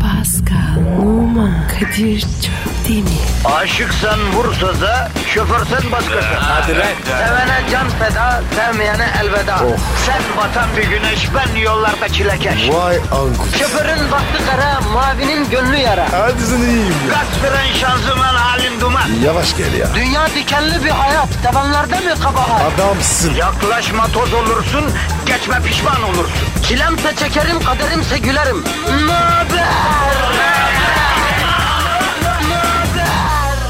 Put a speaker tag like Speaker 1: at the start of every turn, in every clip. Speaker 1: Pascal, Oman, Kadir çok değil mi?
Speaker 2: Aşıksan vursa da şoförsen başkasın. Hadi
Speaker 3: lan.
Speaker 2: Sevene can feda, sevmeyene elveda. Sen batan bir güneş, ben yollarda çilekeş.
Speaker 3: Vay anku.
Speaker 2: Şoförün baktı kara, mavinin gönlü yara.
Speaker 3: Hadi sen iyiyim ya.
Speaker 2: Kasperen şanzıman halin duman.
Speaker 3: Yavaş gel ya.
Speaker 2: Dünya dikenli bir hayat, sevenlerde mi kabahar?
Speaker 3: Adamsın.
Speaker 2: Yaklaşma toz olursun, geçme pişman olursun. Çilemse çekerim, kaderimse gülerim. Möber!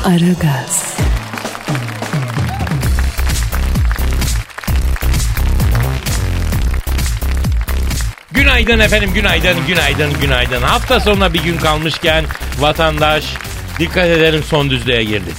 Speaker 1: Aragaz,
Speaker 4: Günaydın efendim, günaydın, günaydın, günaydın. Hafta sonuna bir gün kalmışken vatandaş dikkat edelim son düzlüğe girdik.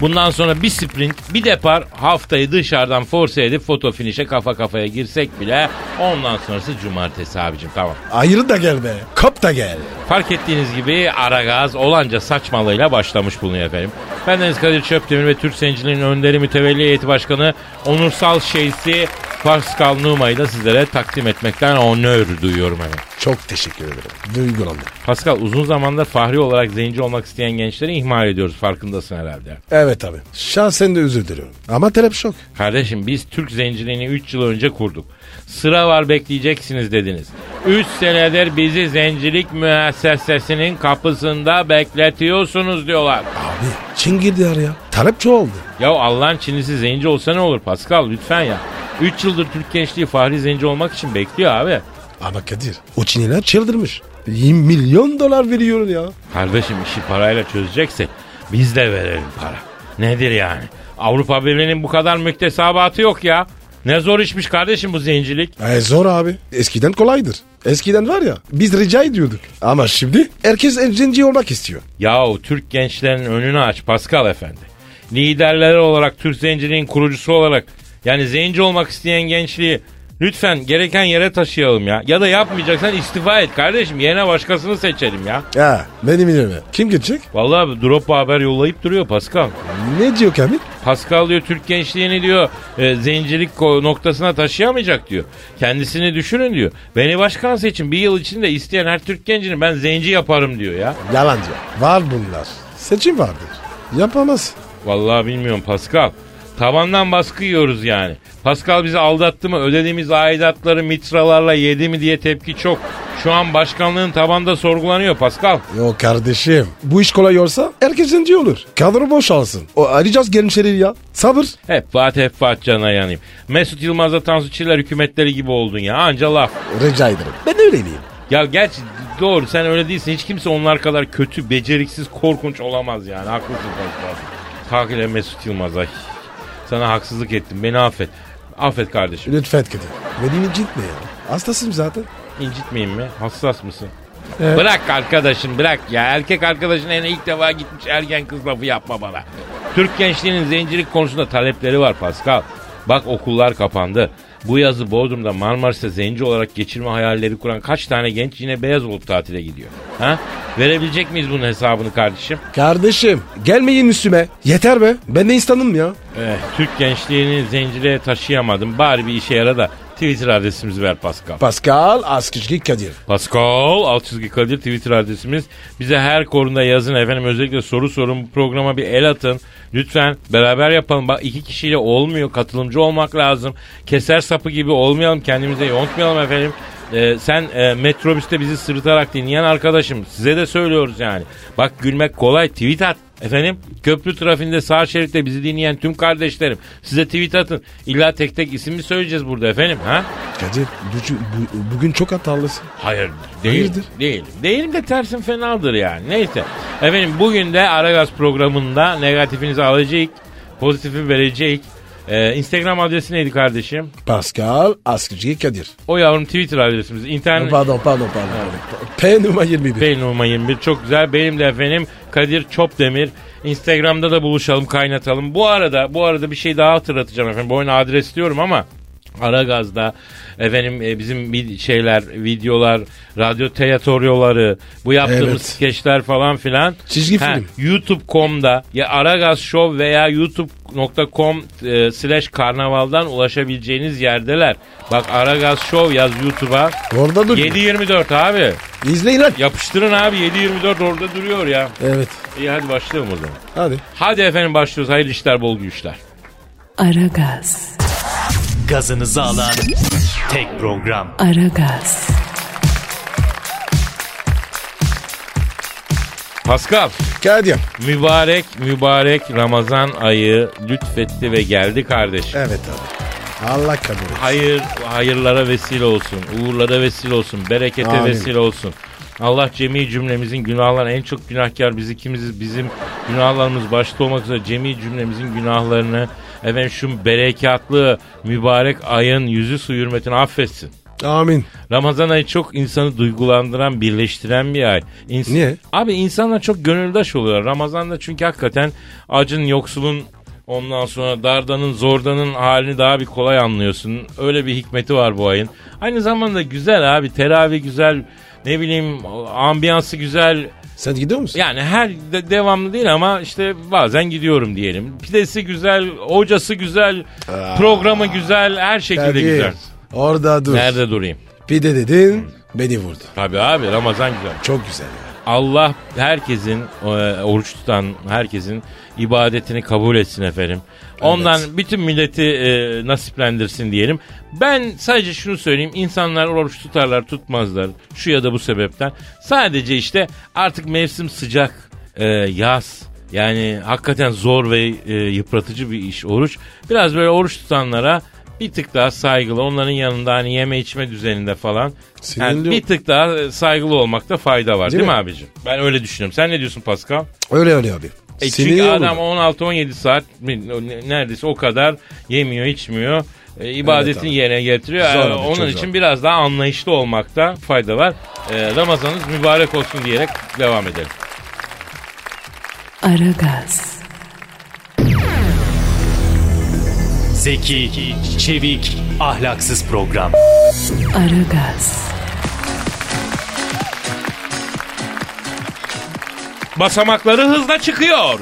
Speaker 4: Bundan sonra bir sprint, bir depar haftayı dışarıdan force edip foto finişe kafa kafaya girsek bile ondan sonrası cumartesi abicim tamam.
Speaker 3: Ayrı da gel be. Kap da gel.
Speaker 4: Fark ettiğiniz gibi Aragaz olanca saçmalığıyla başlamış bulunuyor efendim. Ben Deniz Kadir Çöptemir ve Türk Senciliğinin Önderi Mütevelli Heyeti Başkanı Onursal Şeysi Pascal Numa'yı da sizlere takdim etmekten onur duyuyorum efendim.
Speaker 3: Çok teşekkür ederim. Duygulandım.
Speaker 4: Pascal uzun zamandır fahri olarak zenci olmak isteyen gençleri ihmal ediyoruz farkındasın herhalde.
Speaker 3: Evet abi. Şahsen de özür diliyorum. Ama talep şok.
Speaker 4: Kardeşim biz Türk zenciliğini 3 yıl önce kurduk. Sıra var bekleyeceksiniz dediniz. 3 senedir bizi zencilik müessesesinin kapısında bekletiyorsunuz diyorlar.
Speaker 3: Abi Çin girdi araya. Talep çoğaldı.
Speaker 4: Ya Allah'ın Çinlisi zenci olsa ne olur Pascal lütfen ya. 3 yıldır Türk gençliği fahri zenci olmak için bekliyor abi.
Speaker 3: Ama Kadir o Çinliler çıldırmış. 20 milyon dolar veriyor ya.
Speaker 4: Kardeşim işi parayla çözecekse biz de verelim para. Nedir yani? Avrupa Birliği'nin bu kadar müktesabatı yok ya. Ne zor işmiş kardeşim bu zencilik.
Speaker 3: E, zor abi. Eskiden kolaydır. Eskiden var ya biz rica ediyorduk. Ama şimdi herkes zenci olmak istiyor.
Speaker 4: Yahu Türk gençlerin önünü aç Pascal Efendi. Liderleri olarak Türk zenciliğin kurucusu olarak yani zenci olmak isteyen gençliği lütfen gereken yere taşıyalım ya. Ya da yapmayacaksan istifa et kardeşim yerine başkasını seçelim ya.
Speaker 3: Ha benim yerime. Kim gidecek?
Speaker 4: Vallahi drop haber yollayıp duruyor Pascal.
Speaker 3: Ne diyor Kamil?
Speaker 4: Pascal diyor Türk gençliğini diyor e, zencilik ko- noktasına taşıyamayacak diyor. Kendisini düşünün diyor. Beni başkan seçin bir yıl içinde isteyen her Türk gencini ben zenci yaparım diyor ya.
Speaker 3: Yalancı. Var bunlar. Seçim vardır. Yapamaz.
Speaker 4: Vallahi bilmiyorum Pascal. Tavandan baskı yiyoruz yani. Pascal bizi aldattı mı ödediğimiz aidatları mitralarla yedi mi diye tepki çok. Şu an başkanlığın tabanda sorgulanıyor Pascal.
Speaker 3: Yok kardeşim. Bu iş kolay olsa herkes zenci olur. Kadro boşalsın. O arayacağız gençleri ya. Sabır.
Speaker 4: Hep vaat hep vaat canına yanayım. Mesut Yılmaz'la Tansu Çiller hükümetleri gibi oldun ya anca laf.
Speaker 3: Rica ederim. Ben öyle diyeyim.
Speaker 4: Ya gerçi doğru sen öyle değilsin. Hiç kimse onlar kadar kötü, beceriksiz, korkunç olamaz yani. Haklısın Pascal. Kalk ile Mesut Yılmaz ay. Sana haksızlık ettim. Beni affet. Affet kardeşim.
Speaker 3: Lütfen Kadir. Beni incitme ya. Hastasım zaten.
Speaker 4: İncitmeyeyim mi? Hassas mısın? Bırak arkadaşım bırak ya. Erkek arkadaşın en ilk defa gitmiş ergen kız lafı yapma bana. Türk gençliğinin zencilik konusunda talepleri var Pascal. Bak okullar kapandı. Bu yazı Bodrum'da Marmaris'te zenci olarak geçirme hayalleri kuran kaç tane genç yine beyaz olup tatile gidiyor. Ha? Verebilecek miyiz bunun hesabını kardeşim?
Speaker 3: Kardeşim gelmeyin üstüme. Yeter be. Ben de insanım ya.
Speaker 4: Eh, Türk gençliğini zenciliğe taşıyamadım. Bari bir işe yara da Twitter adresimizi ver Pascal.
Speaker 3: Pascal Askışki Kadir.
Speaker 4: Pascal alt çizgi Kadir Twitter adresimiz. Bize her konuda yazın efendim özellikle soru sorun bu programa bir el atın. Lütfen beraber yapalım. Bak iki kişiyle olmuyor katılımcı olmak lazım. Keser sapı gibi olmayalım kendimize yontmayalım efendim. Ee, sen e, metrobüste bizi sırıtarak dinleyen arkadaşım size de söylüyoruz yani. Bak gülmek kolay tweet at. Efendim köprü trafiğinde sağ şeritte bizi dinleyen tüm kardeşlerim size tweet atın. İlla tek tek isim mi söyleyeceğiz burada efendim ha?
Speaker 3: Kadir bu- bu- bugün çok hatalısın.
Speaker 4: Hayır değil.
Speaker 3: Hayırdır?
Speaker 4: Değilim. Değilim de tersim fenadır yani. Neyse. Efendim bugün de Aragaz programında negatifinizi alacak, pozitifi verecek. Ee, Instagram adresi neydi kardeşim?
Speaker 3: Pascal Askışki Kadir.
Speaker 4: O yavrum Twitter adresimiz. İnternet
Speaker 3: Pardon pardon pardon. pardon. P numara 21.
Speaker 4: Bey numara 21 çok güzel. Benim de efendim Kadir Çopdemir. Instagram'da da buluşalım kaynatalım. Bu arada bu arada bir şey daha hatırlatacağım efendim. Bu oyuna adres diyorum ama Aragaz'da efendim e, bizim bir şeyler, videolar, radyo tiyatroları, bu yaptığımız
Speaker 3: Evet.
Speaker 4: skeçler falan filan.
Speaker 3: Çizgi film.
Speaker 4: YouTube.com'da ya Aragaz Show veya youtube.com e, slash karnavaldan ulaşabileceğiniz yerdeler. Bak Aragaz Show yaz YouTube'a.
Speaker 3: Orada dur.
Speaker 4: 7.24 abi.
Speaker 3: İzleyin lan.
Speaker 4: Yapıştırın abi 7.24 orada duruyor ya.
Speaker 3: Evet.
Speaker 4: İyi hadi başlayalım o zaman.
Speaker 3: Hadi.
Speaker 4: Hadi efendim başlıyoruz. Hayırlı işler, bol güçler.
Speaker 1: Aragaz,
Speaker 5: Gazınızı alan tek program.
Speaker 1: Aragaz,
Speaker 4: Pascal,
Speaker 3: Kadir.
Speaker 4: mübarek mübarek Ramazan ayı lütfetti ve geldi kardeşim.
Speaker 3: Evet abi. Allah kabul et.
Speaker 4: Hayır, hayırlara vesile olsun, uğurlara vesile olsun, berekete
Speaker 3: Amin.
Speaker 4: vesile olsun. Allah cemi cümlemizin günahlarını en çok günahkar biz ikimiziz bizim günahlarımız başta olmak üzere cemi cümlemizin günahlarını efendim şu berekatlı mübarek ayın yüzü su hürmetine affetsin.
Speaker 3: Amin.
Speaker 4: Ramazan ayı çok insanı duygulandıran, birleştiren bir ay. İns-
Speaker 3: Niye?
Speaker 4: Abi insanlar çok gönüldaş oluyor. Ramazan'da çünkü hakikaten acın, yoksulun, ondan sonra dardanın, zordanın halini daha bir kolay anlıyorsun. Öyle bir hikmeti var bu ayın. Aynı zamanda güzel abi. Teravih güzel, ne bileyim ambiyansı güzel.
Speaker 3: Sen gidiyor musun?
Speaker 4: Yani her de- devamlı değil ama işte bazen gidiyorum diyelim. Pidesi güzel, hocası güzel, programı güzel, her şekilde
Speaker 3: Kadir,
Speaker 4: güzel.
Speaker 3: Orada dur.
Speaker 4: Nerede durayım?
Speaker 3: Pide dedin beni vurdu.
Speaker 4: Tabii abi Ramazan güzel.
Speaker 3: Çok güzel ya.
Speaker 4: Allah herkesin e, oruç tutan herkesin ibadetini kabul etsin efendim. Ondan bütün milleti e, nasiplendirsin diyelim. Ben sadece şunu söyleyeyim. insanlar oruç tutarlar tutmazlar. Şu ya da bu sebepten. Sadece işte artık mevsim sıcak. e, yaz. Yani hakikaten zor ve e, yıpratıcı bir iş oruç. Biraz böyle oruç tutanlara bir tık daha saygılı. Onların yanında hani yeme içme düzeninde falan. Yani
Speaker 3: Sinirli-
Speaker 4: bir tık daha e, saygılı olmakta fayda var değil,
Speaker 3: Değil
Speaker 4: mi
Speaker 3: mi?
Speaker 4: abicim? Ben öyle düşünüyorum. Sen ne diyorsun Pascal?
Speaker 3: Öyle öyle abi.
Speaker 4: E çünkü
Speaker 3: Sinirli olur.
Speaker 4: adam 16-17 saat mi- ne- neredeyse o kadar yemiyor içmiyor. E, ibadetini
Speaker 3: abi.
Speaker 4: yerine getiriyor.
Speaker 3: Zor abi,
Speaker 4: E, onun
Speaker 3: çok
Speaker 4: için
Speaker 3: zor.
Speaker 4: biraz daha anlayışlı olmakta fayda var. E, Ramazanınız mübarek olsun diyerek devam edelim.
Speaker 1: Aragaz,
Speaker 5: Zeki, çevik, ahlaksız program.
Speaker 1: Aragaz,
Speaker 4: basamakları hızla çıkıyor.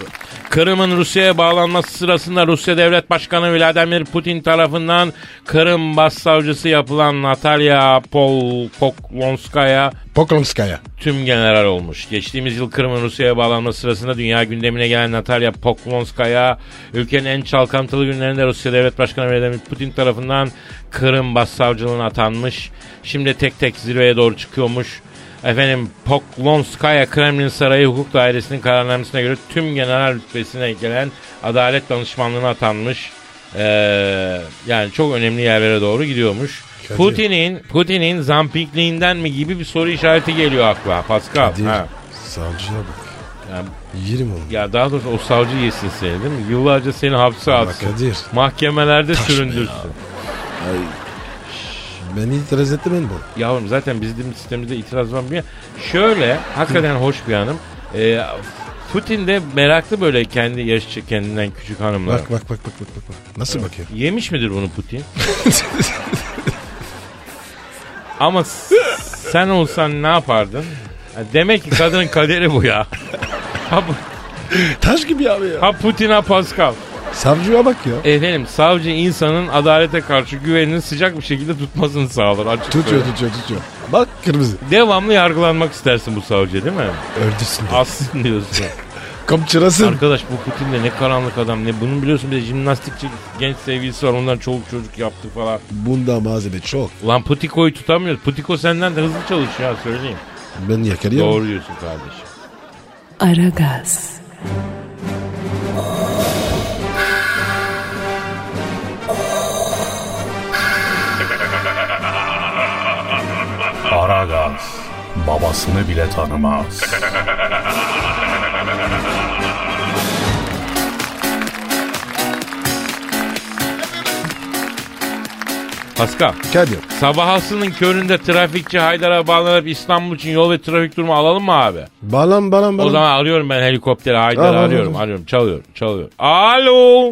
Speaker 4: Kırım'ın Rusya'ya bağlanması sırasında Rusya Devlet Başkanı Vladimir Putin tarafından Kırım Başsavcısı yapılan Natalya Polkoklonskaya
Speaker 3: Poklonskaya.
Speaker 4: tüm general olmuş. Geçtiğimiz yıl Kırım'ın Rusya'ya bağlanması sırasında dünya gündemine gelen Natalya Poklonskaya ülkenin en çalkantılı günlerinde Rusya Devlet Başkanı Vladimir Putin tarafından Kırım Başsavcılığına atanmış. Şimdi tek tek zirveye doğru çıkıyormuş. Efendim Poklonskaya Kremlin Sarayı Hukuk Dairesi'nin kararnamesine göre tüm general rütbesine gelen adalet danışmanlığına atanmış. Ee, yani çok önemli yerlere doğru gidiyormuş.
Speaker 3: Kadir.
Speaker 4: Putin'in Putin'in zampikliğinden mi gibi bir soru işareti geliyor akla Pascal.
Speaker 3: Kadir.
Speaker 4: Ha.
Speaker 3: Savcıya bak.
Speaker 4: Ya,
Speaker 3: Yerim onu.
Speaker 4: ya daha doğrusu o savcı yesin seni değil mi? Yıllarca seni hapse
Speaker 3: Ama
Speaker 4: atsın.
Speaker 3: Kadir.
Speaker 4: Mahkemelerde süründürsün.
Speaker 3: Beni itiraz etti ben bu.
Speaker 4: Yavrum zaten bizim sistemimizde itiraz var mı ya? Şöyle hakikaten hoş bir hanım. Ee, Putin de meraklı böyle kendi yaşça kendinden küçük hanımlara.
Speaker 3: Bak bak bak bak bak bak. bak. Nasıl bakıyor?
Speaker 4: Yemiş midir bunu Putin? Ama s- sen olsan ne yapardın? Ya Demek ki kadının kaderi bu ya. Ha, bu-
Speaker 3: Taş gibi abi ya.
Speaker 4: ha Putin ha Pascal.
Speaker 3: Savcıya bak ya.
Speaker 4: Efendim savcı insanın adalete karşı güvenini sıcak bir şekilde tutmasını sağlar. Açık
Speaker 3: Tutuyor
Speaker 4: söyleyeyim.
Speaker 3: tutuyor tutuyor. Bak kırmızı.
Speaker 4: Devamlı yargılanmak istersin bu savcı değil mi?
Speaker 3: Öldürsün.
Speaker 4: Assın diyorsun.
Speaker 3: Kamçırasın.
Speaker 4: Arkadaş bu Putin de ne karanlık adam ne. Bunun biliyorsun bir de jimnastikçi genç sevgilisi var ondan çoluk çocuk yaptı falan.
Speaker 3: Bunda malzeme çok.
Speaker 4: Lan Putiko'yu tutamıyoruz. Putiko senden de hızlı çalışıyor ha, söyleyeyim.
Speaker 3: Ben yakalayamam.
Speaker 4: Doğru diyorsun kardeşim.
Speaker 1: Aragaz,
Speaker 6: Aragaz babasını bile tanımaz.
Speaker 4: Pascal.
Speaker 3: Kadir.
Speaker 4: Sabahasının köründe trafikçi Haydar'a bağlanıp İstanbul için yol ve trafik durumu alalım mı abi?
Speaker 3: Balam balam balam.
Speaker 4: O zaman arıyorum ben helikopteri Haydar'ı
Speaker 3: Al, al,
Speaker 4: arıyorum
Speaker 3: al.
Speaker 4: arıyorum çalıyor çalıyor. Alo.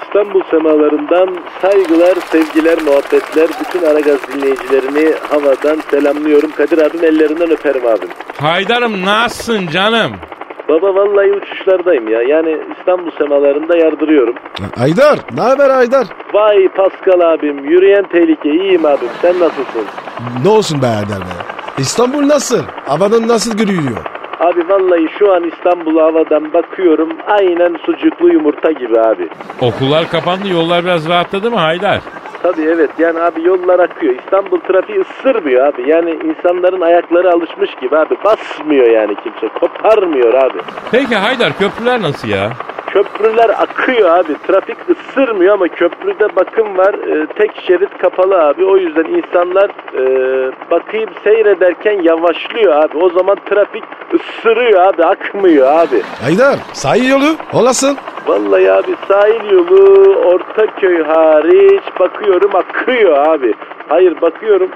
Speaker 7: İstanbul semalarından saygılar, sevgiler, muhabbetler. Bütün Aragaz dinleyicilerini havadan selamlıyorum. Kadir abim ellerinden öperim abim.
Speaker 4: Haydar'ım nasılsın canım?
Speaker 7: Baba vallahi uçuşlardayım ya. Yani İstanbul semalarında yardırıyorum.
Speaker 3: Aydar. Ne haber Aydar?
Speaker 7: Vay Pascal abim, yürüyen tehlike. iyiyim abim. Sen nasılsın?
Speaker 3: Ne olsun be Aydar be. İstanbul nasıl? Havanın nasıl görünüyor?
Speaker 7: Abi vallahi şu an İstanbul'a havadan bakıyorum. Aynen sucuklu yumurta gibi abi.
Speaker 4: Okullar kapandı yollar biraz rahatladı mı Haydar?
Speaker 7: Tabii evet yani abi yollar akıyor. İstanbul trafiği ısırmıyor abi. Yani insanların ayakları alışmış gibi abi. Basmıyor yani kimse. Koparmıyor abi.
Speaker 4: Peki Haydar köprüler nasıl ya?
Speaker 7: Köprüler akıyor abi. Trafik ısırmıyor ama köprüde bakım var. Ee, tek şerit kapalı abi. O yüzden insanlar e, bakayım seyrederken yavaşlıyor abi. O zaman trafik ısırıyor abi. Akmıyor abi.
Speaker 3: Aydar. Sahil yolu. Olasın.
Speaker 7: Vallahi abi sahil yolu Ortaköy hariç bakıyorum akıyor abi. Hayır bakıyorum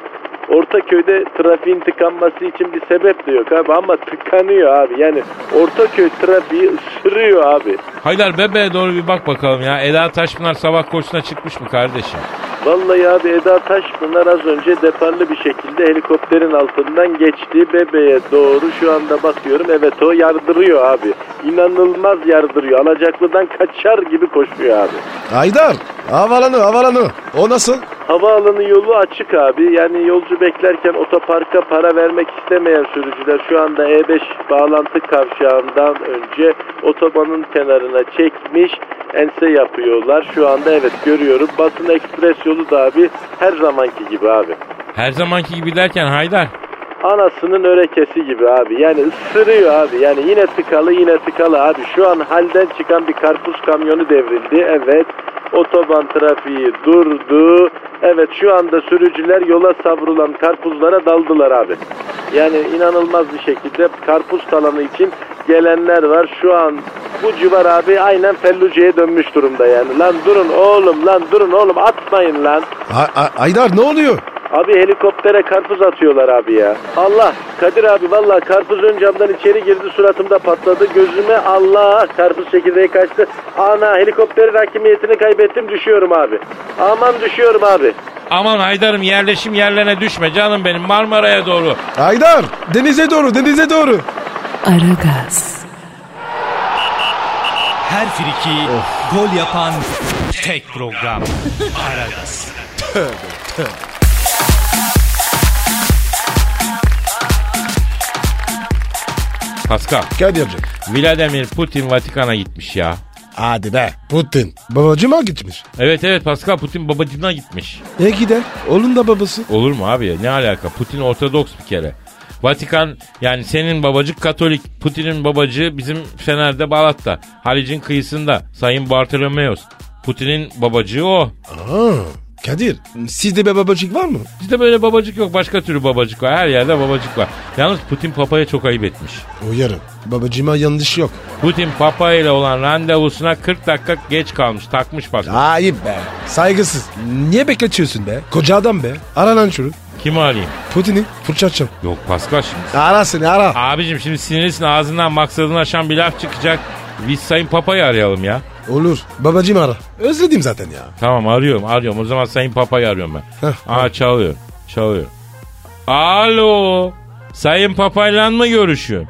Speaker 7: Ortaköy'de trafiğin tıkanması için bir sebep de yok abi ama tıkanıyor abi. Yani Ortaköy trafiği ısırıyor abi.
Speaker 4: Haydar bebeğe doğru bir bak bakalım ya. Eda Taşpınar sabah koşusuna çıkmış mı kardeşim?
Speaker 7: Vallahi abi Eda Taşpınar az önce deparlı bir şekilde helikopterin altından geçti. Bebeğe doğru şu anda bakıyorum evet o yardırıyor abi. İnanılmaz yardırıyor. Alacaklıdan kaçar gibi koşuyor abi.
Speaker 3: Aydar. Havalanı havalanı. O nasıl?
Speaker 7: Havaalanı yolu açık abi. Yani yolcu beklerken otoparka para vermek istemeyen sürücüler şu anda E5 bağlantı kavşağından önce otobanın kenarına çekmiş ense yapıyorlar. Şu anda evet görüyorum. Basın ekspres yolu da abi her zamanki gibi abi.
Speaker 4: Her zamanki gibi derken Haydar.
Speaker 7: Anasının örekesi gibi abi. Yani ısırıyor abi. Yani yine tıkalı yine tıkalı abi. Şu an halden çıkan bir karpuz kamyonu devrildi. Evet. Otoban trafiği durdu. Evet şu anda sürücüler yola savrulan karpuzlara daldılar abi. Yani inanılmaz bir şekilde karpuz talanı için gelenler var. Şu an bu civar abi aynen Felluce'ye dönmüş durumda yani. Lan durun oğlum lan durun oğlum atmayın lan.
Speaker 3: A- A- Aydar ne oluyor?
Speaker 7: Abi helikoptere karpuz atıyorlar abi ya. Allah Kadir abi valla karpuz ön camdan içeri girdi suratımda patladı. Gözüme Allah karpuz çekirdeği kaçtı. Ana helikopterin hakimiyetini kaybettim düşüyorum abi. Aman düşüyorum abi.
Speaker 4: Aman Haydar'ım yerleşim yerlerine düşme canım benim Marmara'ya doğru.
Speaker 3: Aydar. Denize doğru denize doğru.
Speaker 1: Aragaz.
Speaker 5: Her friki gol yapan tek program. Aragaz.
Speaker 4: Pascal,
Speaker 3: Kadir'cim.
Speaker 4: Vladimir Putin Vatikan'a gitmiş ya.
Speaker 3: Hadi be. Putin. Babacıma gitmiş.
Speaker 4: Evet evet Pascal Putin babacığına gitmiş.
Speaker 3: E gider. Onun da babası.
Speaker 4: Olur mu abi ya ne alaka Putin Ortodoks bir kere. Vatikan yani senin babacık Katolik, Putin'in babacığı bizim Fener'de Balat'ta, Halic'in kıyısında Sayın Bartolomeos. Putin'in babacığı o.
Speaker 3: Aa, Kadir. Sizde bir babacık var mı?
Speaker 4: Bizde böyle babacık yok başka türlü babacık var her yerde babacık var. Yalnız Putin Papa'ya çok ayıp etmiş.
Speaker 3: Uyarım. Babacıma yanlış yok.
Speaker 4: Putin Papa ile olan randevusuna 40 dakika geç kalmış takmış bak.
Speaker 3: Ayıp be. Saygısız. Niye bekletiyorsun be? Koca adam be. Ara lan şunu.
Speaker 4: Kim arayayım?
Speaker 3: Putin'i fırçatacağım.
Speaker 4: Yok Pascal şimdi.
Speaker 3: Ara seni ara.
Speaker 4: Abicim şimdi sinirlisin ağzından maksadını aşan bir laf çıkacak. Biz Sayın Papa'yı arayalım ya.
Speaker 3: Olur. Babacım ara. Özledim zaten ya.
Speaker 4: Tamam arıyorum arıyorum. O zaman Sayın Papa'yı arıyorum ben.
Speaker 3: Heh,
Speaker 4: Aa çalıyor. Çalıyor. Alo. Sayın Papa'yla mı görüşüyorum?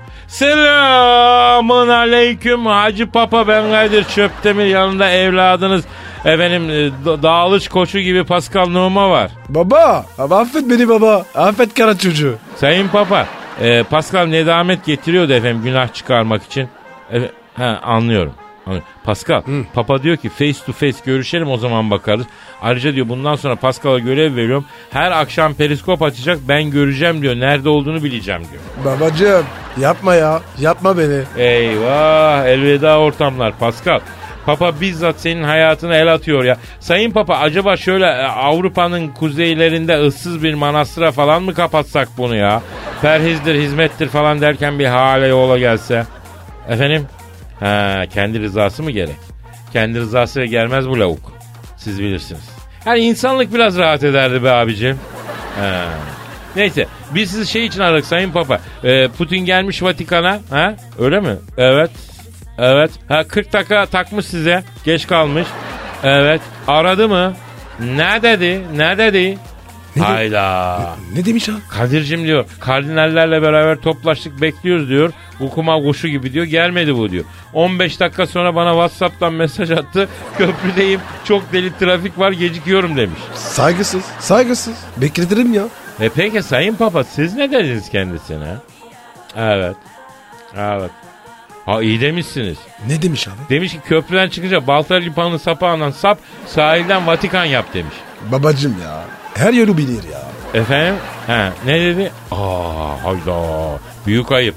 Speaker 4: Selamın aleyküm Hacı Papa ben Kadir Çöptemir yanında evladınız efendim e, da- dağılış koçu gibi Pascal Numa var.
Speaker 3: Baba. Abi affet beni baba. Affet kara çocuğu.
Speaker 4: Sayın Papa e, Pascal nedamet getiriyordu efendim günah çıkarmak için. Efe- ha, anlıyorum. Anlıyorum. Pascal, Papa diyor ki face to face görüşelim o zaman bakarız. Ayrıca diyor bundan sonra Pascal'a görev veriyorum. Her akşam periskop açacak ben göreceğim diyor. Nerede olduğunu bileceğim diyor.
Speaker 3: Babacım. Yapma ya. Yapma beni.
Speaker 4: Eyvah elveda ortamlar Pascal. Papa bizzat senin hayatına el atıyor ya. Sayın Papa acaba şöyle e, Avrupa'nın kuzeylerinde ıssız bir manastıra falan mı kapatsak bunu ya? Perhizdir, hizmettir falan derken bir hale yola gelse. Efendim? Ha, kendi rızası mı gerek? Kendi rızası gelmez bu lavuk. Siz bilirsiniz. Yani insanlık biraz rahat ederdi be abicim. Ha. Neyse biz sizi şey için aradık Sayın Papa. Ee, Putin gelmiş Vatikan'a. Ha? Öyle mi? Evet. Evet. Ha 40 dakika takmış size. Geç kalmış. Evet. Aradı mı? Ne dedi? Ne dedi?
Speaker 3: Ne dedi?
Speaker 4: Hayda.
Speaker 3: Ne demiş ha?
Speaker 4: Kadir'cim diyor kardinallerle beraber toplaştık bekliyoruz diyor. Ukuma kuşu gibi diyor gelmedi bu diyor. 15 dakika sonra bana Whatsapp'tan mesaj attı. Köprüdeyim çok deli trafik var gecikiyorum demiş.
Speaker 3: Saygısız. Saygısız. Bekletirim ya.
Speaker 4: E peki Sayın Papa siz ne dediniz kendisine? Evet. Evet. Ha iyi demişsiniz.
Speaker 3: Ne demiş abi?
Speaker 4: Demiş ki köprüden çıkınca Baltar Lipan'ın sapağından sap sahilden Vatikan yap demiş.
Speaker 3: Babacım ya. Her yolu bilir ya.
Speaker 4: Efendim? Ha, ne dedi? Aa hayda. Büyük ayıp.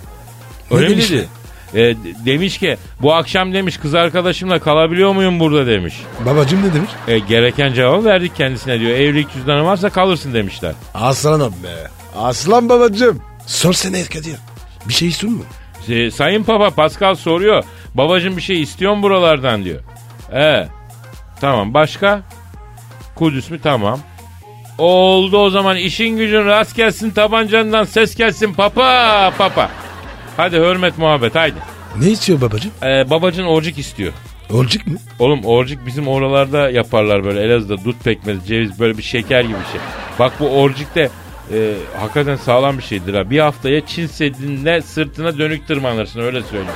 Speaker 3: Ne
Speaker 4: Öyle mi
Speaker 3: demiş
Speaker 4: dedi? E, de- demiş ki bu akşam demiş kız arkadaşımla kalabiliyor muyum burada demiş.
Speaker 3: Babacım ne demiş?
Speaker 4: E, gereken cevabı verdik kendisine diyor. Evlilik cüzdanı varsa kalırsın demişler.
Speaker 3: Aslanım be. Aslan babacım. Sorsana Kadir. Bir şey istiyor mu?
Speaker 4: E, Sayın Papa Pascal soruyor. Babacım bir şey istiyor mu buralardan diyor. E, tamam başka? Kudüs mü tamam. Oldu o zaman işin gücün rast gelsin tabancandan ses gelsin papa papa. Hadi hürmet muhabbet haydi.
Speaker 3: Ne istiyor babacım?
Speaker 4: Ee, babacın orcik istiyor.
Speaker 3: Olacak mı?
Speaker 4: Oğlum orcik bizim oralarda yaparlar böyle Elazığ'da dut pekmezi, ceviz böyle bir şeker gibi bir şey. Bak bu orcik de e, hakikaten sağlam bir şeydir ha. Bir haftaya Çin Seddi'nde sırtına dönük tırmanırsın öyle söyleyeyim.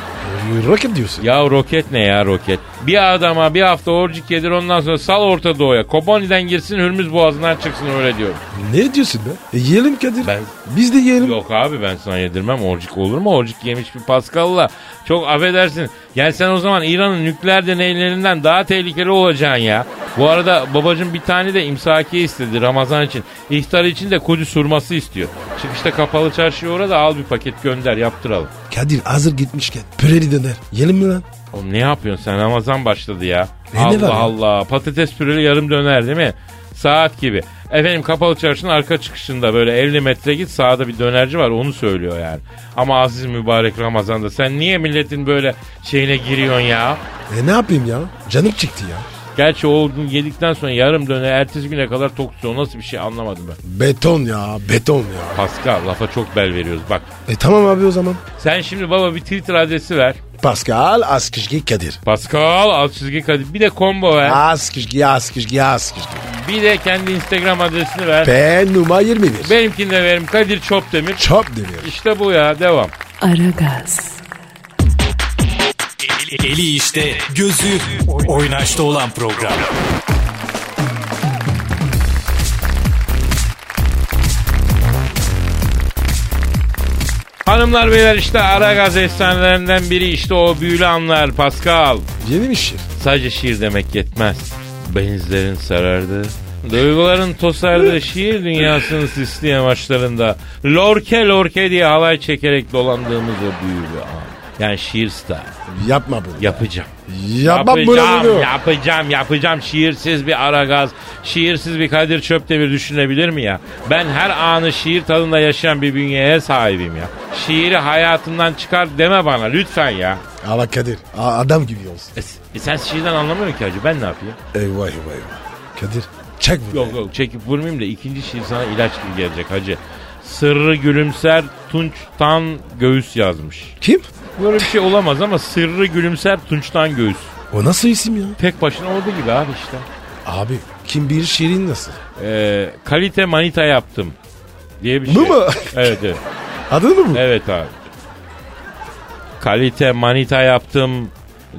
Speaker 3: Rocket Ee, diyorsun.
Speaker 4: Ya roket ne ya roket? Bir adama bir hafta orcik yedir ondan sonra sal Orta Doğu'ya. Kobani'den girsin Hürmüz Boğazı'ndan çıksın öyle diyorum.
Speaker 3: Ne diyorsun be? E, yiyelim Kadir.
Speaker 4: Ben-
Speaker 3: Biz de yiyelim.
Speaker 4: Yok abi ben sana yedirmem orcik olur mu? Orcik yemiş bir Pascal'la. Çok affedersin. Yani sen o zaman İran'ın nükleer deneylerinden daha tehlikeli olacaksın ya. Bu arada babacım bir tane de imsakiye istedi Ramazan için. İftar için de Kudüs hurması istiyor. Çıkışta kapalı çarşıya uğra da al bir paket gönder yaptıralım.
Speaker 3: Kadir hazır gitmişken püreli döner. Yiyelim mi lan?
Speaker 4: Oğlum ne yapıyorsun sen Ramazan başladı ya.
Speaker 3: Ne ne var
Speaker 4: Allah
Speaker 3: ya?
Speaker 4: Allah. Patates püreli yarım döner değil mi? Saat gibi. Efendim kapalı çarşının arka çıkışında böyle 50 metre git sağda bir dönerci var onu söylüyor yani. Ama aziz mübarek Ramazan'da sen niye milletin böyle şeyine giriyorsun ya?
Speaker 3: E ne yapayım ya? Canım çıktı ya.
Speaker 4: Gerçi o gün yedikten sonra yarım döner ertesi güne kadar tok tutuyor. Nasıl bir şey anlamadım ben.
Speaker 3: Beton ya beton ya.
Speaker 4: Pascal lafa çok bel veriyoruz bak.
Speaker 3: E tamam abi o zaman.
Speaker 4: Sen şimdi baba bir Twitter adresi ver.
Speaker 3: Pascal Askışgi Kadir.
Speaker 4: Pascal alt çizgi Kadir. Bir de combo ver.
Speaker 3: Askışgi Askışgi Askışgi.
Speaker 4: Bir de kendi Instagram adresini ver.
Speaker 3: P numara 21.
Speaker 4: Benimkini de verim Kadir Çopdemir.
Speaker 3: Çöp demir.
Speaker 4: İşte bu ya devam.
Speaker 1: Aragaz,
Speaker 5: Eli, eli işte, gözü oynaşta olan program.
Speaker 4: Hanımlar beyler işte ara gaz efsanelerinden biri işte o büyülü anlar Pascal.
Speaker 3: Yeni bir şey. şiir.
Speaker 4: Sadece şiir demek yetmez. Benizlerin sarardı. Duyguların tosardığı şiir dünyasının sisli yamaçlarında lorke lorke diye halay çekerek dolandığımız o büyülü an. Yani şiir star.
Speaker 3: Yapma bunu.
Speaker 4: Yapacağım.
Speaker 3: Yapma
Speaker 4: yapacağım,
Speaker 3: bunu.
Speaker 4: yapacağım, yapacağım. Şiirsiz bir Aragaz, şiirsiz bir Kadir Çöptemir düşünebilir mi ya? Ben her anı şiir tadında yaşayan bir bünyeye sahibim ya. Şiiri hayatımdan çıkar deme bana lütfen ya.
Speaker 3: Ama Kadir a- adam gibi olsun.
Speaker 4: E, s- e sen şiirden anlamıyorsun ki hacı. Ben ne yapayım?
Speaker 3: Eyvah eyvah eyvah. Kadir çek bunu.
Speaker 4: Yok yok çekip vurmayayım da ikinci şiir sana ilaç gibi gelecek hacı. Sırrı gülümser Tunç'tan göğüs yazmış.
Speaker 3: Kim?
Speaker 4: Böyle bir şey olamaz ama sırrı gülümser Tunç'tan göğüs.
Speaker 3: O nasıl isim ya?
Speaker 4: Tek başına olduğu gibi abi işte.
Speaker 3: Abi kim bilir şiirin nasıl?
Speaker 4: Ee, kalite manita yaptım diye bir şey.
Speaker 3: Bu mu?
Speaker 4: Evet evet.
Speaker 3: Adını mı bu?
Speaker 4: Evet abi. Kalite manita yaptım.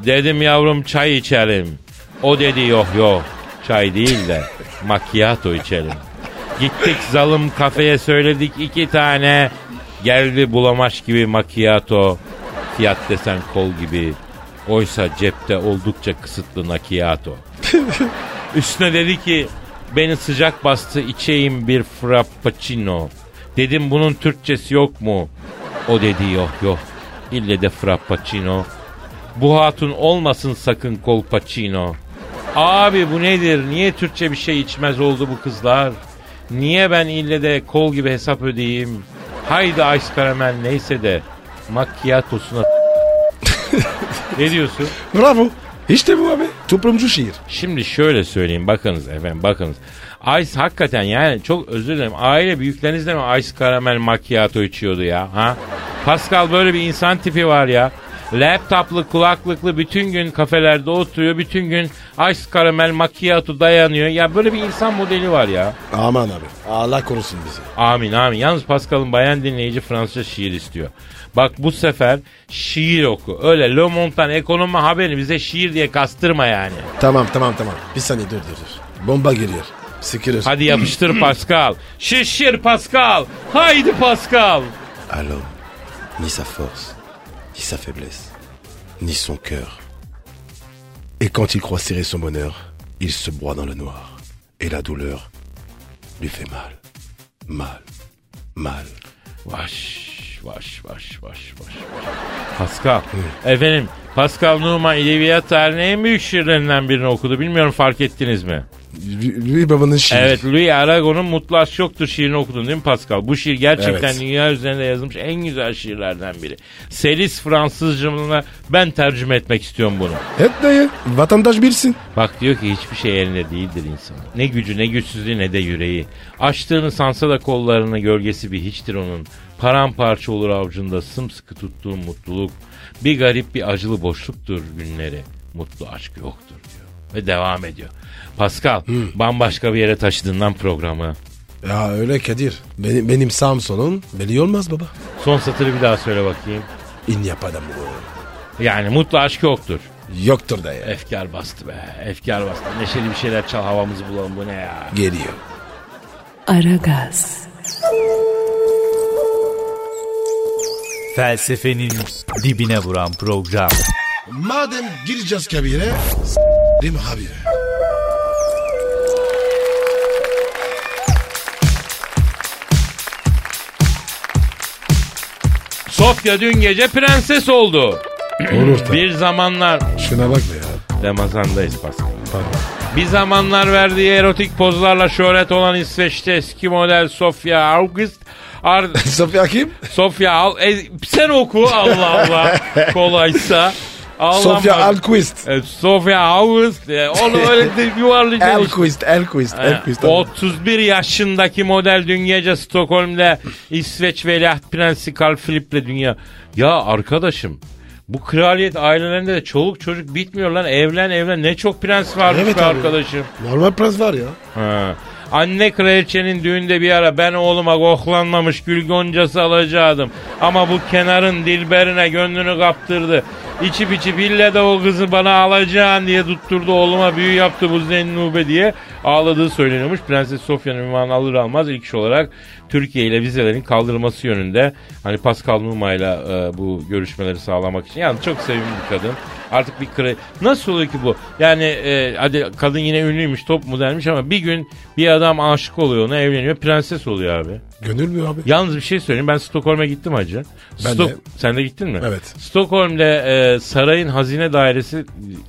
Speaker 4: Dedim yavrum çay içelim. O dedi yok yok. Çay değil de macchiato içelim. Gittik zalım kafeye söyledik iki tane. Geldi bulamaç gibi macchiato. Fiyat desen kol gibi. Oysa cepte oldukça kısıtlı macchiato. Üstüne dedi ki beni sıcak bastı içeyim bir frappuccino. Dedim bunun Türkçesi yok mu? O dedi yok yok. İlle de frappuccino. Bu hatun olmasın sakın kolpaçino. Abi bu nedir? Niye Türkçe bir şey içmez oldu bu kızlar? Niye ben ille de kol gibi hesap ödeyeyim? Haydi ice karamel neyse de makyatosuna ne diyorsun?
Speaker 3: Bravo. İşte bu abi. Toplumcu şiir.
Speaker 4: Şimdi şöyle söyleyeyim bakınız efendim bakınız. Ice hakikaten yani çok özür dilerim. Aile büyüklerinizle mi Ice Karamel Macchiato içiyordu ya? Ha? Pascal böyle bir insan tipi var ya. Laptoplu kulaklıklı bütün gün kafelerde oturuyor. Bütün gün ice karamel macchiato dayanıyor. Ya böyle bir insan modeli var ya.
Speaker 3: Aman abi. Allah korusun bizi.
Speaker 4: Amin amin. Yalnız Pascal'ın bayan dinleyici Fransızca şiir istiyor. Bak bu sefer şiir oku. Öyle Le Montan ekonomi haberi bize şiir diye kastırma yani.
Speaker 3: Tamam tamam tamam. Bir saniye dur dur dur. Bomba geliyor. Sıkırır.
Speaker 4: Hadi yapıştır Pascal. Şişir Pascal. Haydi Pascal.
Speaker 3: Alors, ni sa force, ni sa faiblesse, ni son cœur. Et quand il croit serrer son bonheur, il se broie dans le noir. Et la douleur lui fait mal. Mal. Mal.
Speaker 4: Vaş vaş vaş vaş vaş. Pascal. Efendim Pascal Numa İdebiyat Derneği en büyük şiirlerinden birini okudu. Bilmiyorum fark ettiniz mi?
Speaker 3: Lui ben, babanın şiiri.
Speaker 4: Evet Louis Aragon'un Mutlu Aşk Yoktur şiirini okudun değil mi Pascal? Bu şiir gerçekten
Speaker 3: Evet.
Speaker 4: dünya üzerinde yazılmış en güzel şiirlerden biri. Selis Fransızcımına ben tercüme etmek istiyorum bunu.
Speaker 3: Et dayı. Vatandaş bilsin.
Speaker 4: Bak diyor ki hiçbir şey elinde değildir insanın. Ne gücü ne güçsüzlüğü ne de yüreği. Açtığını sansa da kollarını gölgesi bir hiçtir onun. Paramparça olur avcunda sımsıkı tuttuğu mutluluk. Bir garip bir acılı boşluktur günleri. Mutlu aşk yoktur diyor. Ve devam ediyor. Pascal bambaşka bir yere taşıdığından programı.
Speaker 3: Ya öyle Kadir. Benim, benim Samson'un belli olmaz baba.
Speaker 4: Son satırı bir daha söyle bakayım.
Speaker 3: Il n'y a pas d'amour.
Speaker 4: Yani mutlu aşk yoktur.
Speaker 3: Yoktur dayı.
Speaker 4: Efkar bastı be. Efkar bastı. Neşeli bir şeyler çal havamızı bulalım bu ne ya.
Speaker 3: Geliyor.
Speaker 1: Aragaz,
Speaker 5: Felsefenin dibine vuran program.
Speaker 3: Madem gireceğiz kabire, s***rim abi.
Speaker 4: Sofya dün gece prenses oldu.
Speaker 3: Olur tabii.
Speaker 4: Bir zamanlar
Speaker 3: Şuna bak be ya.
Speaker 4: Ramazan'dayız Pascal.
Speaker 3: Pardon.
Speaker 4: Bir zamanlar verdiği erotik pozlarla şöhret olan İsveçli eski model Sofia August Ar
Speaker 3: Sofya kim?
Speaker 4: Sofia Al e, sen oku Allah Allah kolaysa. Allah
Speaker 3: Sofya
Speaker 4: Allah.
Speaker 3: Alquist.
Speaker 4: E, Sofia August e, onu öyle de yuvarlayacağız.
Speaker 3: Alquist, Alquist,
Speaker 4: E,
Speaker 3: Alquist.
Speaker 4: 31 yaşındaki model dün gece Stockholm'de İsveç Veliaht Prensi Carl Philip'le dünya. Ya arkadaşım bu kraliyet ailelerinde de çoluk çocuk bitmiyor lan. Evlen evlen ne çok prens varmış
Speaker 3: Evet
Speaker 4: be
Speaker 3: abi.
Speaker 4: arkadaşım.
Speaker 3: Normal prens var ya.
Speaker 4: Ha. Anne kraliçenin düğünde bir ara ben oğluma koklanmamış gül goncası alacaktım. Ama bu kenarın dilberine gönlünü kaptırdı. İçip içip ille de o kızı bana alacaksın diye tutturdu oğluma büyü yaptı bu zennube diye ağladığı söyleniyormuş. Prenses Sofya'nın ünvanı alır almaz ilk iş olarak Türkiye ile vizelerin kaldırılması yönünde hani Pascal Numa ile e, bu görüşmeleri sağlamak için. Yani çok sevimli bir kadın. Artık bir kre... Nasıl oluyor ki bu? Yani e, hadi kadın yine ünlüymüş, top modelmiş ama bir gün bir adam aşık oluyor ona evleniyor. Prenses oluyor abi.
Speaker 3: Gönül mü abi?
Speaker 4: Yalnız bir şey söyleyeyim. Ben Stockholm'a gittim hacı.
Speaker 3: Ben
Speaker 4: Stok-
Speaker 3: de.
Speaker 4: Sen de gittin mi?
Speaker 3: Evet.
Speaker 4: Stockholm'de e, sarayın hazine dairesi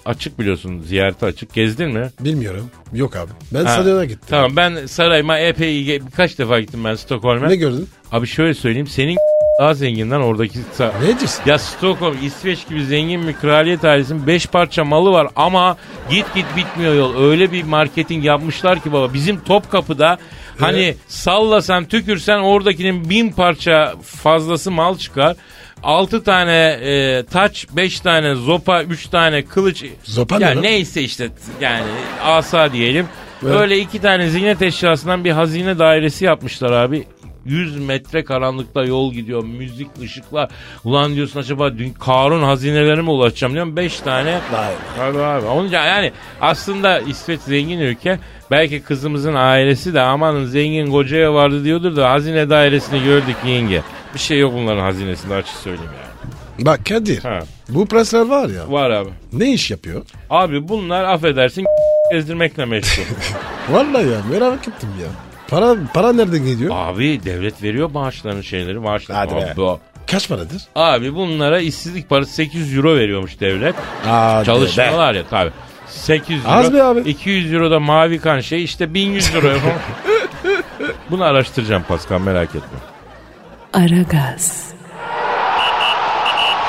Speaker 4: açık biliyorsun. Ziyarete açık. Gezdin mi?
Speaker 3: Bilmiyorum. Yok abi. Ben
Speaker 4: Ha,
Speaker 3: E, Saray'a gittim.
Speaker 4: Tamam ben sarayıma epey ge- birkaç defa gittim ben Stockholm'a.
Speaker 3: Ne gördün?
Speaker 4: Abi şöyle söyleyeyim senin daha zenginden oradaki sa-
Speaker 3: Ne diyorsun?
Speaker 4: ya Stockholm, İsveç gibi zengin bir kraliyet ailesinin 5 parça malı var ama git git bitmiyor yol. Öyle bir marketing yapmışlar ki baba. Bizim Topkapı'da hani sallasan tükürsen oradakinin bin parça fazlası mal çıkar. 6 tane e, taç, 5 tane zopa, 3 tane kılıç.
Speaker 3: Zopa ne
Speaker 4: ya
Speaker 3: lan?
Speaker 4: neyse işte yani asa diyelim.
Speaker 3: Evet.
Speaker 4: Öyle iki tane ziynet eşyasından bir hazine dairesi yapmışlar abi. 100 metre karanlıkta yol gidiyor. Müzik, ışıklar. Ulan diyorsun acaba dün Karun hazinelerine mi ulaşacağım diyorum. 5 tane.
Speaker 3: Vay be.
Speaker 4: Tabii abi. Onunca yani aslında İsveç zengin ülke. Belki kızımızın ailesi de amanın zengin kocaya vardı diyordur da hazine dairesini gördük yenge. Bir şey yok bunların hazinesinde açık söyleyeyim yani.
Speaker 3: Bak Kadir.
Speaker 4: Ha.
Speaker 3: Bu prensler var ya.
Speaker 4: Var abi.
Speaker 3: Ne iş yapıyor?
Speaker 4: Abi bunlar affedersin ezdirmekle meşgul.
Speaker 3: Vallahi ya merak ettim ya. Para para nereden gidiyor?
Speaker 4: Abi devlet veriyor maaşlarını şeyleri maaşları.
Speaker 3: Hadi be.
Speaker 4: Abi,
Speaker 3: Kaç paradır?
Speaker 4: abi bunlara işsizlik parası 800 euro veriyormuş devlet.
Speaker 3: Aa,
Speaker 4: Çalışmalar ya tabi. 800 euro.
Speaker 3: Az be abi.
Speaker 4: 200 euro da mavi kan şey işte 1100 euro. Bunu araştıracağım Pascal merak etme.
Speaker 1: Aragaz,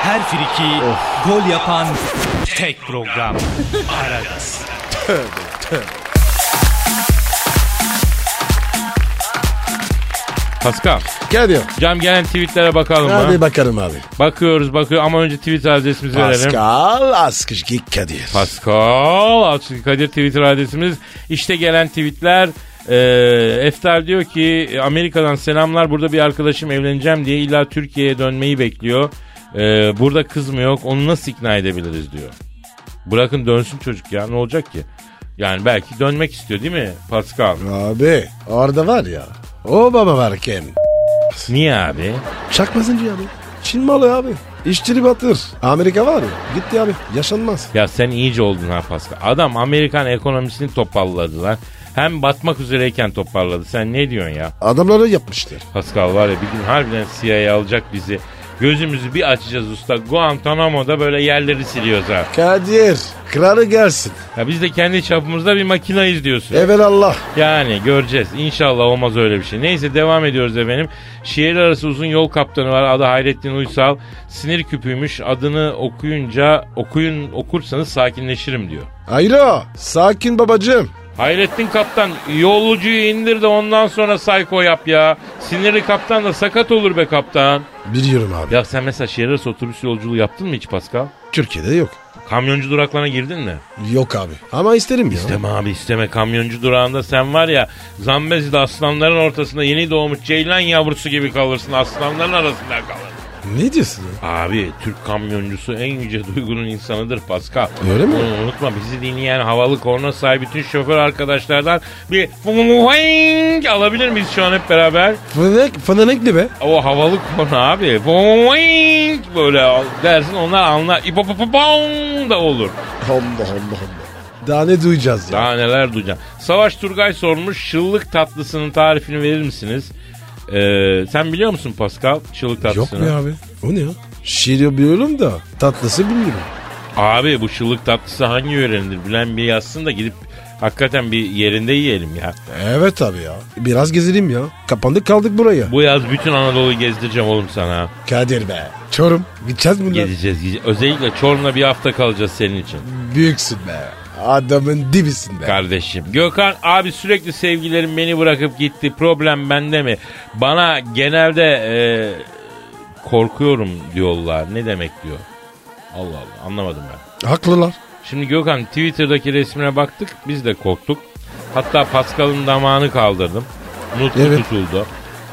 Speaker 5: Her friki gol yapan tek program. Aragaz.
Speaker 4: Pascal.
Speaker 3: Kadir.
Speaker 4: Cam gelen tweetlere bakalım mı?
Speaker 3: Hadi bakalım abi.
Speaker 4: Bakıyoruz bakıyor ama önce Twitter adresimizi verelim.
Speaker 3: Pascal Askışki Kadir.
Speaker 4: Pascal Askışki Kadir Twitter adresimiz. İşte gelen tweetler. Ee, Eftar diyor ki Amerika'dan selamlar burada bir arkadaşım evleneceğim diye illa Türkiye'ye dönmeyi bekliyor. Ee, burada kız mı yok onu nasıl ikna edebiliriz diyor. Bırakın dönsün çocuk ya ne olacak ki? Yani belki dönmek istiyor değil mi Pascal?
Speaker 3: Abi orada var ya. O baba varken.
Speaker 4: Niye abi?
Speaker 3: Çakmasıncı abi. Çin malı abi. İşçili batır. Amerika var ya. Gitti abi. Yaşanmaz.
Speaker 4: Ya sen iyice oldun ha Pascal. Adam Amerikan ekonomisini toparladı lan. Hem batmak üzereyken toparladı. Sen ne diyorsun ya?
Speaker 3: Adamları yapmışlar.
Speaker 4: Pascal var ya bir gün harbiden CIA alacak bizi. Gözümüzü bir açacağız usta. Guantanamo'da böyle yerleri siliyoruz ha.
Speaker 3: Kadir. Kralı gelsin.
Speaker 4: Ya biz de kendi çapımızda bir makinayız diyorsun.
Speaker 3: Evelallah.
Speaker 4: Yani göreceğiz. İnşallah olmaz öyle bir şey. Neyse devam ediyoruz efendim. Şehir arası uzun yol kaptanı var. Adı Hayrettin Uysal. Sinir küpüymüş. Adını okuyunca okuyun okursanız sakinleşirim diyor.
Speaker 3: Hayro. Sakin babacığım.
Speaker 4: Hayrettin kaptan yolcuyu indir de ondan sonra sayko yap ya. Sinirli kaptan da sakat olur be kaptan.
Speaker 3: Biliyorum abi.
Speaker 4: Ya sen mesela şehir arası otobüs yolculuğu yaptın mı hiç Pascal?
Speaker 3: Türkiye'de yok.
Speaker 4: Kamyoncu duraklarına girdin mi?
Speaker 3: Yok abi. Ama isterim ya.
Speaker 4: İsteme abi isteme kamyoncu durağında sen var ya Zambezi'de aslanların ortasında yeni doğmuş ceylan yavrusu gibi kalırsın aslanların arasında kalırsın.
Speaker 3: Ne diyorsun ya?
Speaker 4: Abi Türk kamyoncusu en yüce duygunun insanıdır Pascal.
Speaker 3: Öyle mi?
Speaker 4: Onu unutma bizi dinleyen havalı korna sahibi bütün şoför arkadaşlardan bir vuvuvuing alabilir miyiz şu an hep beraber?
Speaker 3: Fınanek, fınanek be?
Speaker 4: O havalı korna abi vuvuvuing böyle dersin onlar anlar İpopopopong da olur.
Speaker 3: Allah Allah Allah. Daha ne duyacağız ya?
Speaker 4: Daha neler duyacağım. Savaş Turgay sormuş şıllık tatlısının tarifini verir misiniz? Ee, sen biliyor musun Pascal şıllık
Speaker 3: Yok
Speaker 4: tatlısını?
Speaker 3: mu abi? O ne ya? Şiiri biliyorum da tatlısı bilmiyorum.
Speaker 4: Abi bu şıllık tatlısı hangi yörendir? Bilen bir yazsın da gidip hakikaten bir yerinde yiyelim ya.
Speaker 3: Evet abi ya. Biraz gezelim ya. Kapandık kaldık buraya.
Speaker 4: Bu yaz bütün Anadolu'yu gezdireceğim oğlum sana.
Speaker 3: Kadir be. Çorum. Gideceğiz bunlar.
Speaker 4: Gezeceğiz, gezeceğiz. Özellikle Çorum'da bir hafta kalacağız senin için.
Speaker 3: Büyüksün be. Adamın dibisin be.
Speaker 4: Kardeşim. Gökhan abi sürekli sevgilerim beni bırakıp gitti. Problem bende mi? Bana genelde e, korkuyorum diyorlar. Ne demek diyor. Allah Allah anlamadım ben.
Speaker 3: Haklılar.
Speaker 4: Şimdi Gökhan Twitter'daki resmine baktık biz de korktuk. Hatta Pascal'ın damağını kaldırdım. Mutlu
Speaker 3: Evet.
Speaker 4: tutuldu.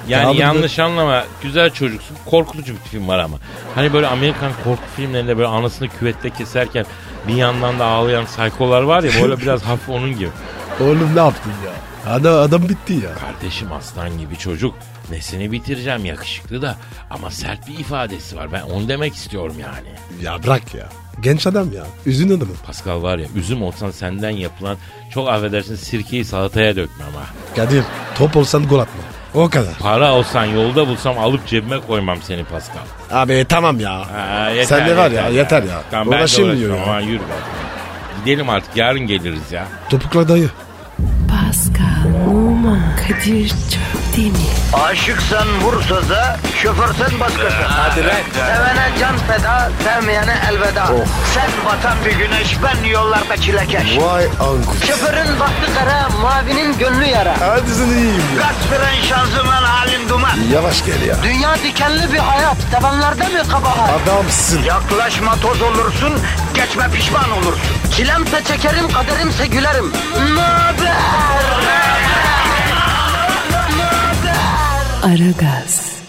Speaker 4: Yani
Speaker 3: Kaldırdı.
Speaker 4: yanlış anlama güzel çocuksun. Korkutucu bir film var ama. Hani böyle Amerikan korku filmlerinde böyle anasını küvette keserken bir yandan da ağlayan saykolar var ya böyle biraz hafif onun gibi.
Speaker 3: Oğlum ne yaptın ya? Adam, adam bitti ya.
Speaker 4: Kardeşim aslan gibi çocuk. Nesini bitireceğim yakışıklı da ama sert bir ifadesi var. Ben onu demek istiyorum yani.
Speaker 3: Ya bırak ya. Genç adam ya. Üzün adamı.
Speaker 4: Pascal var ya üzüm olsan senden yapılan çok affedersin sirkeyi salataya dökmem ha.
Speaker 3: Kadir top olsan gol atma. O kadar.
Speaker 4: Para olsan yolda bulsam alıp cebime koymam seni Pascal.
Speaker 3: Abi tamam ya.
Speaker 4: Ha, yeter,
Speaker 3: Sen de var ya, yeter ya.
Speaker 4: Tamam, ben de
Speaker 3: Uğraşayım
Speaker 4: uğraşmam.
Speaker 3: diyor ya.
Speaker 4: Aman yürü be. Gidelim artık yarın geliriz ya.
Speaker 3: Topukla dayı.
Speaker 1: Pascal, Oman, Kadir çok değil mi?
Speaker 2: Aşıksan vursa da, şoförsen başkasın. Hadi Sevene can feda, sevmeyene elveda. Sen batan bir güneş, ben yollarda çilekeş.
Speaker 3: Vay anku.
Speaker 2: Şoförün baktı kara, mavinin gönlü yara.
Speaker 3: Hadi sen iyiyim ya.
Speaker 2: Kasperen şanzıman halin duman.
Speaker 3: Yavaş gel ya.
Speaker 2: Dünya dikenli bir hayat, sevenlerde mi kabahar?
Speaker 3: Adamsın.
Speaker 2: Yaklaşma toz olursun, geçme pişman olursun. Çilemse çekerim, kaderimse gülerim. Möber!
Speaker 1: Aragaz.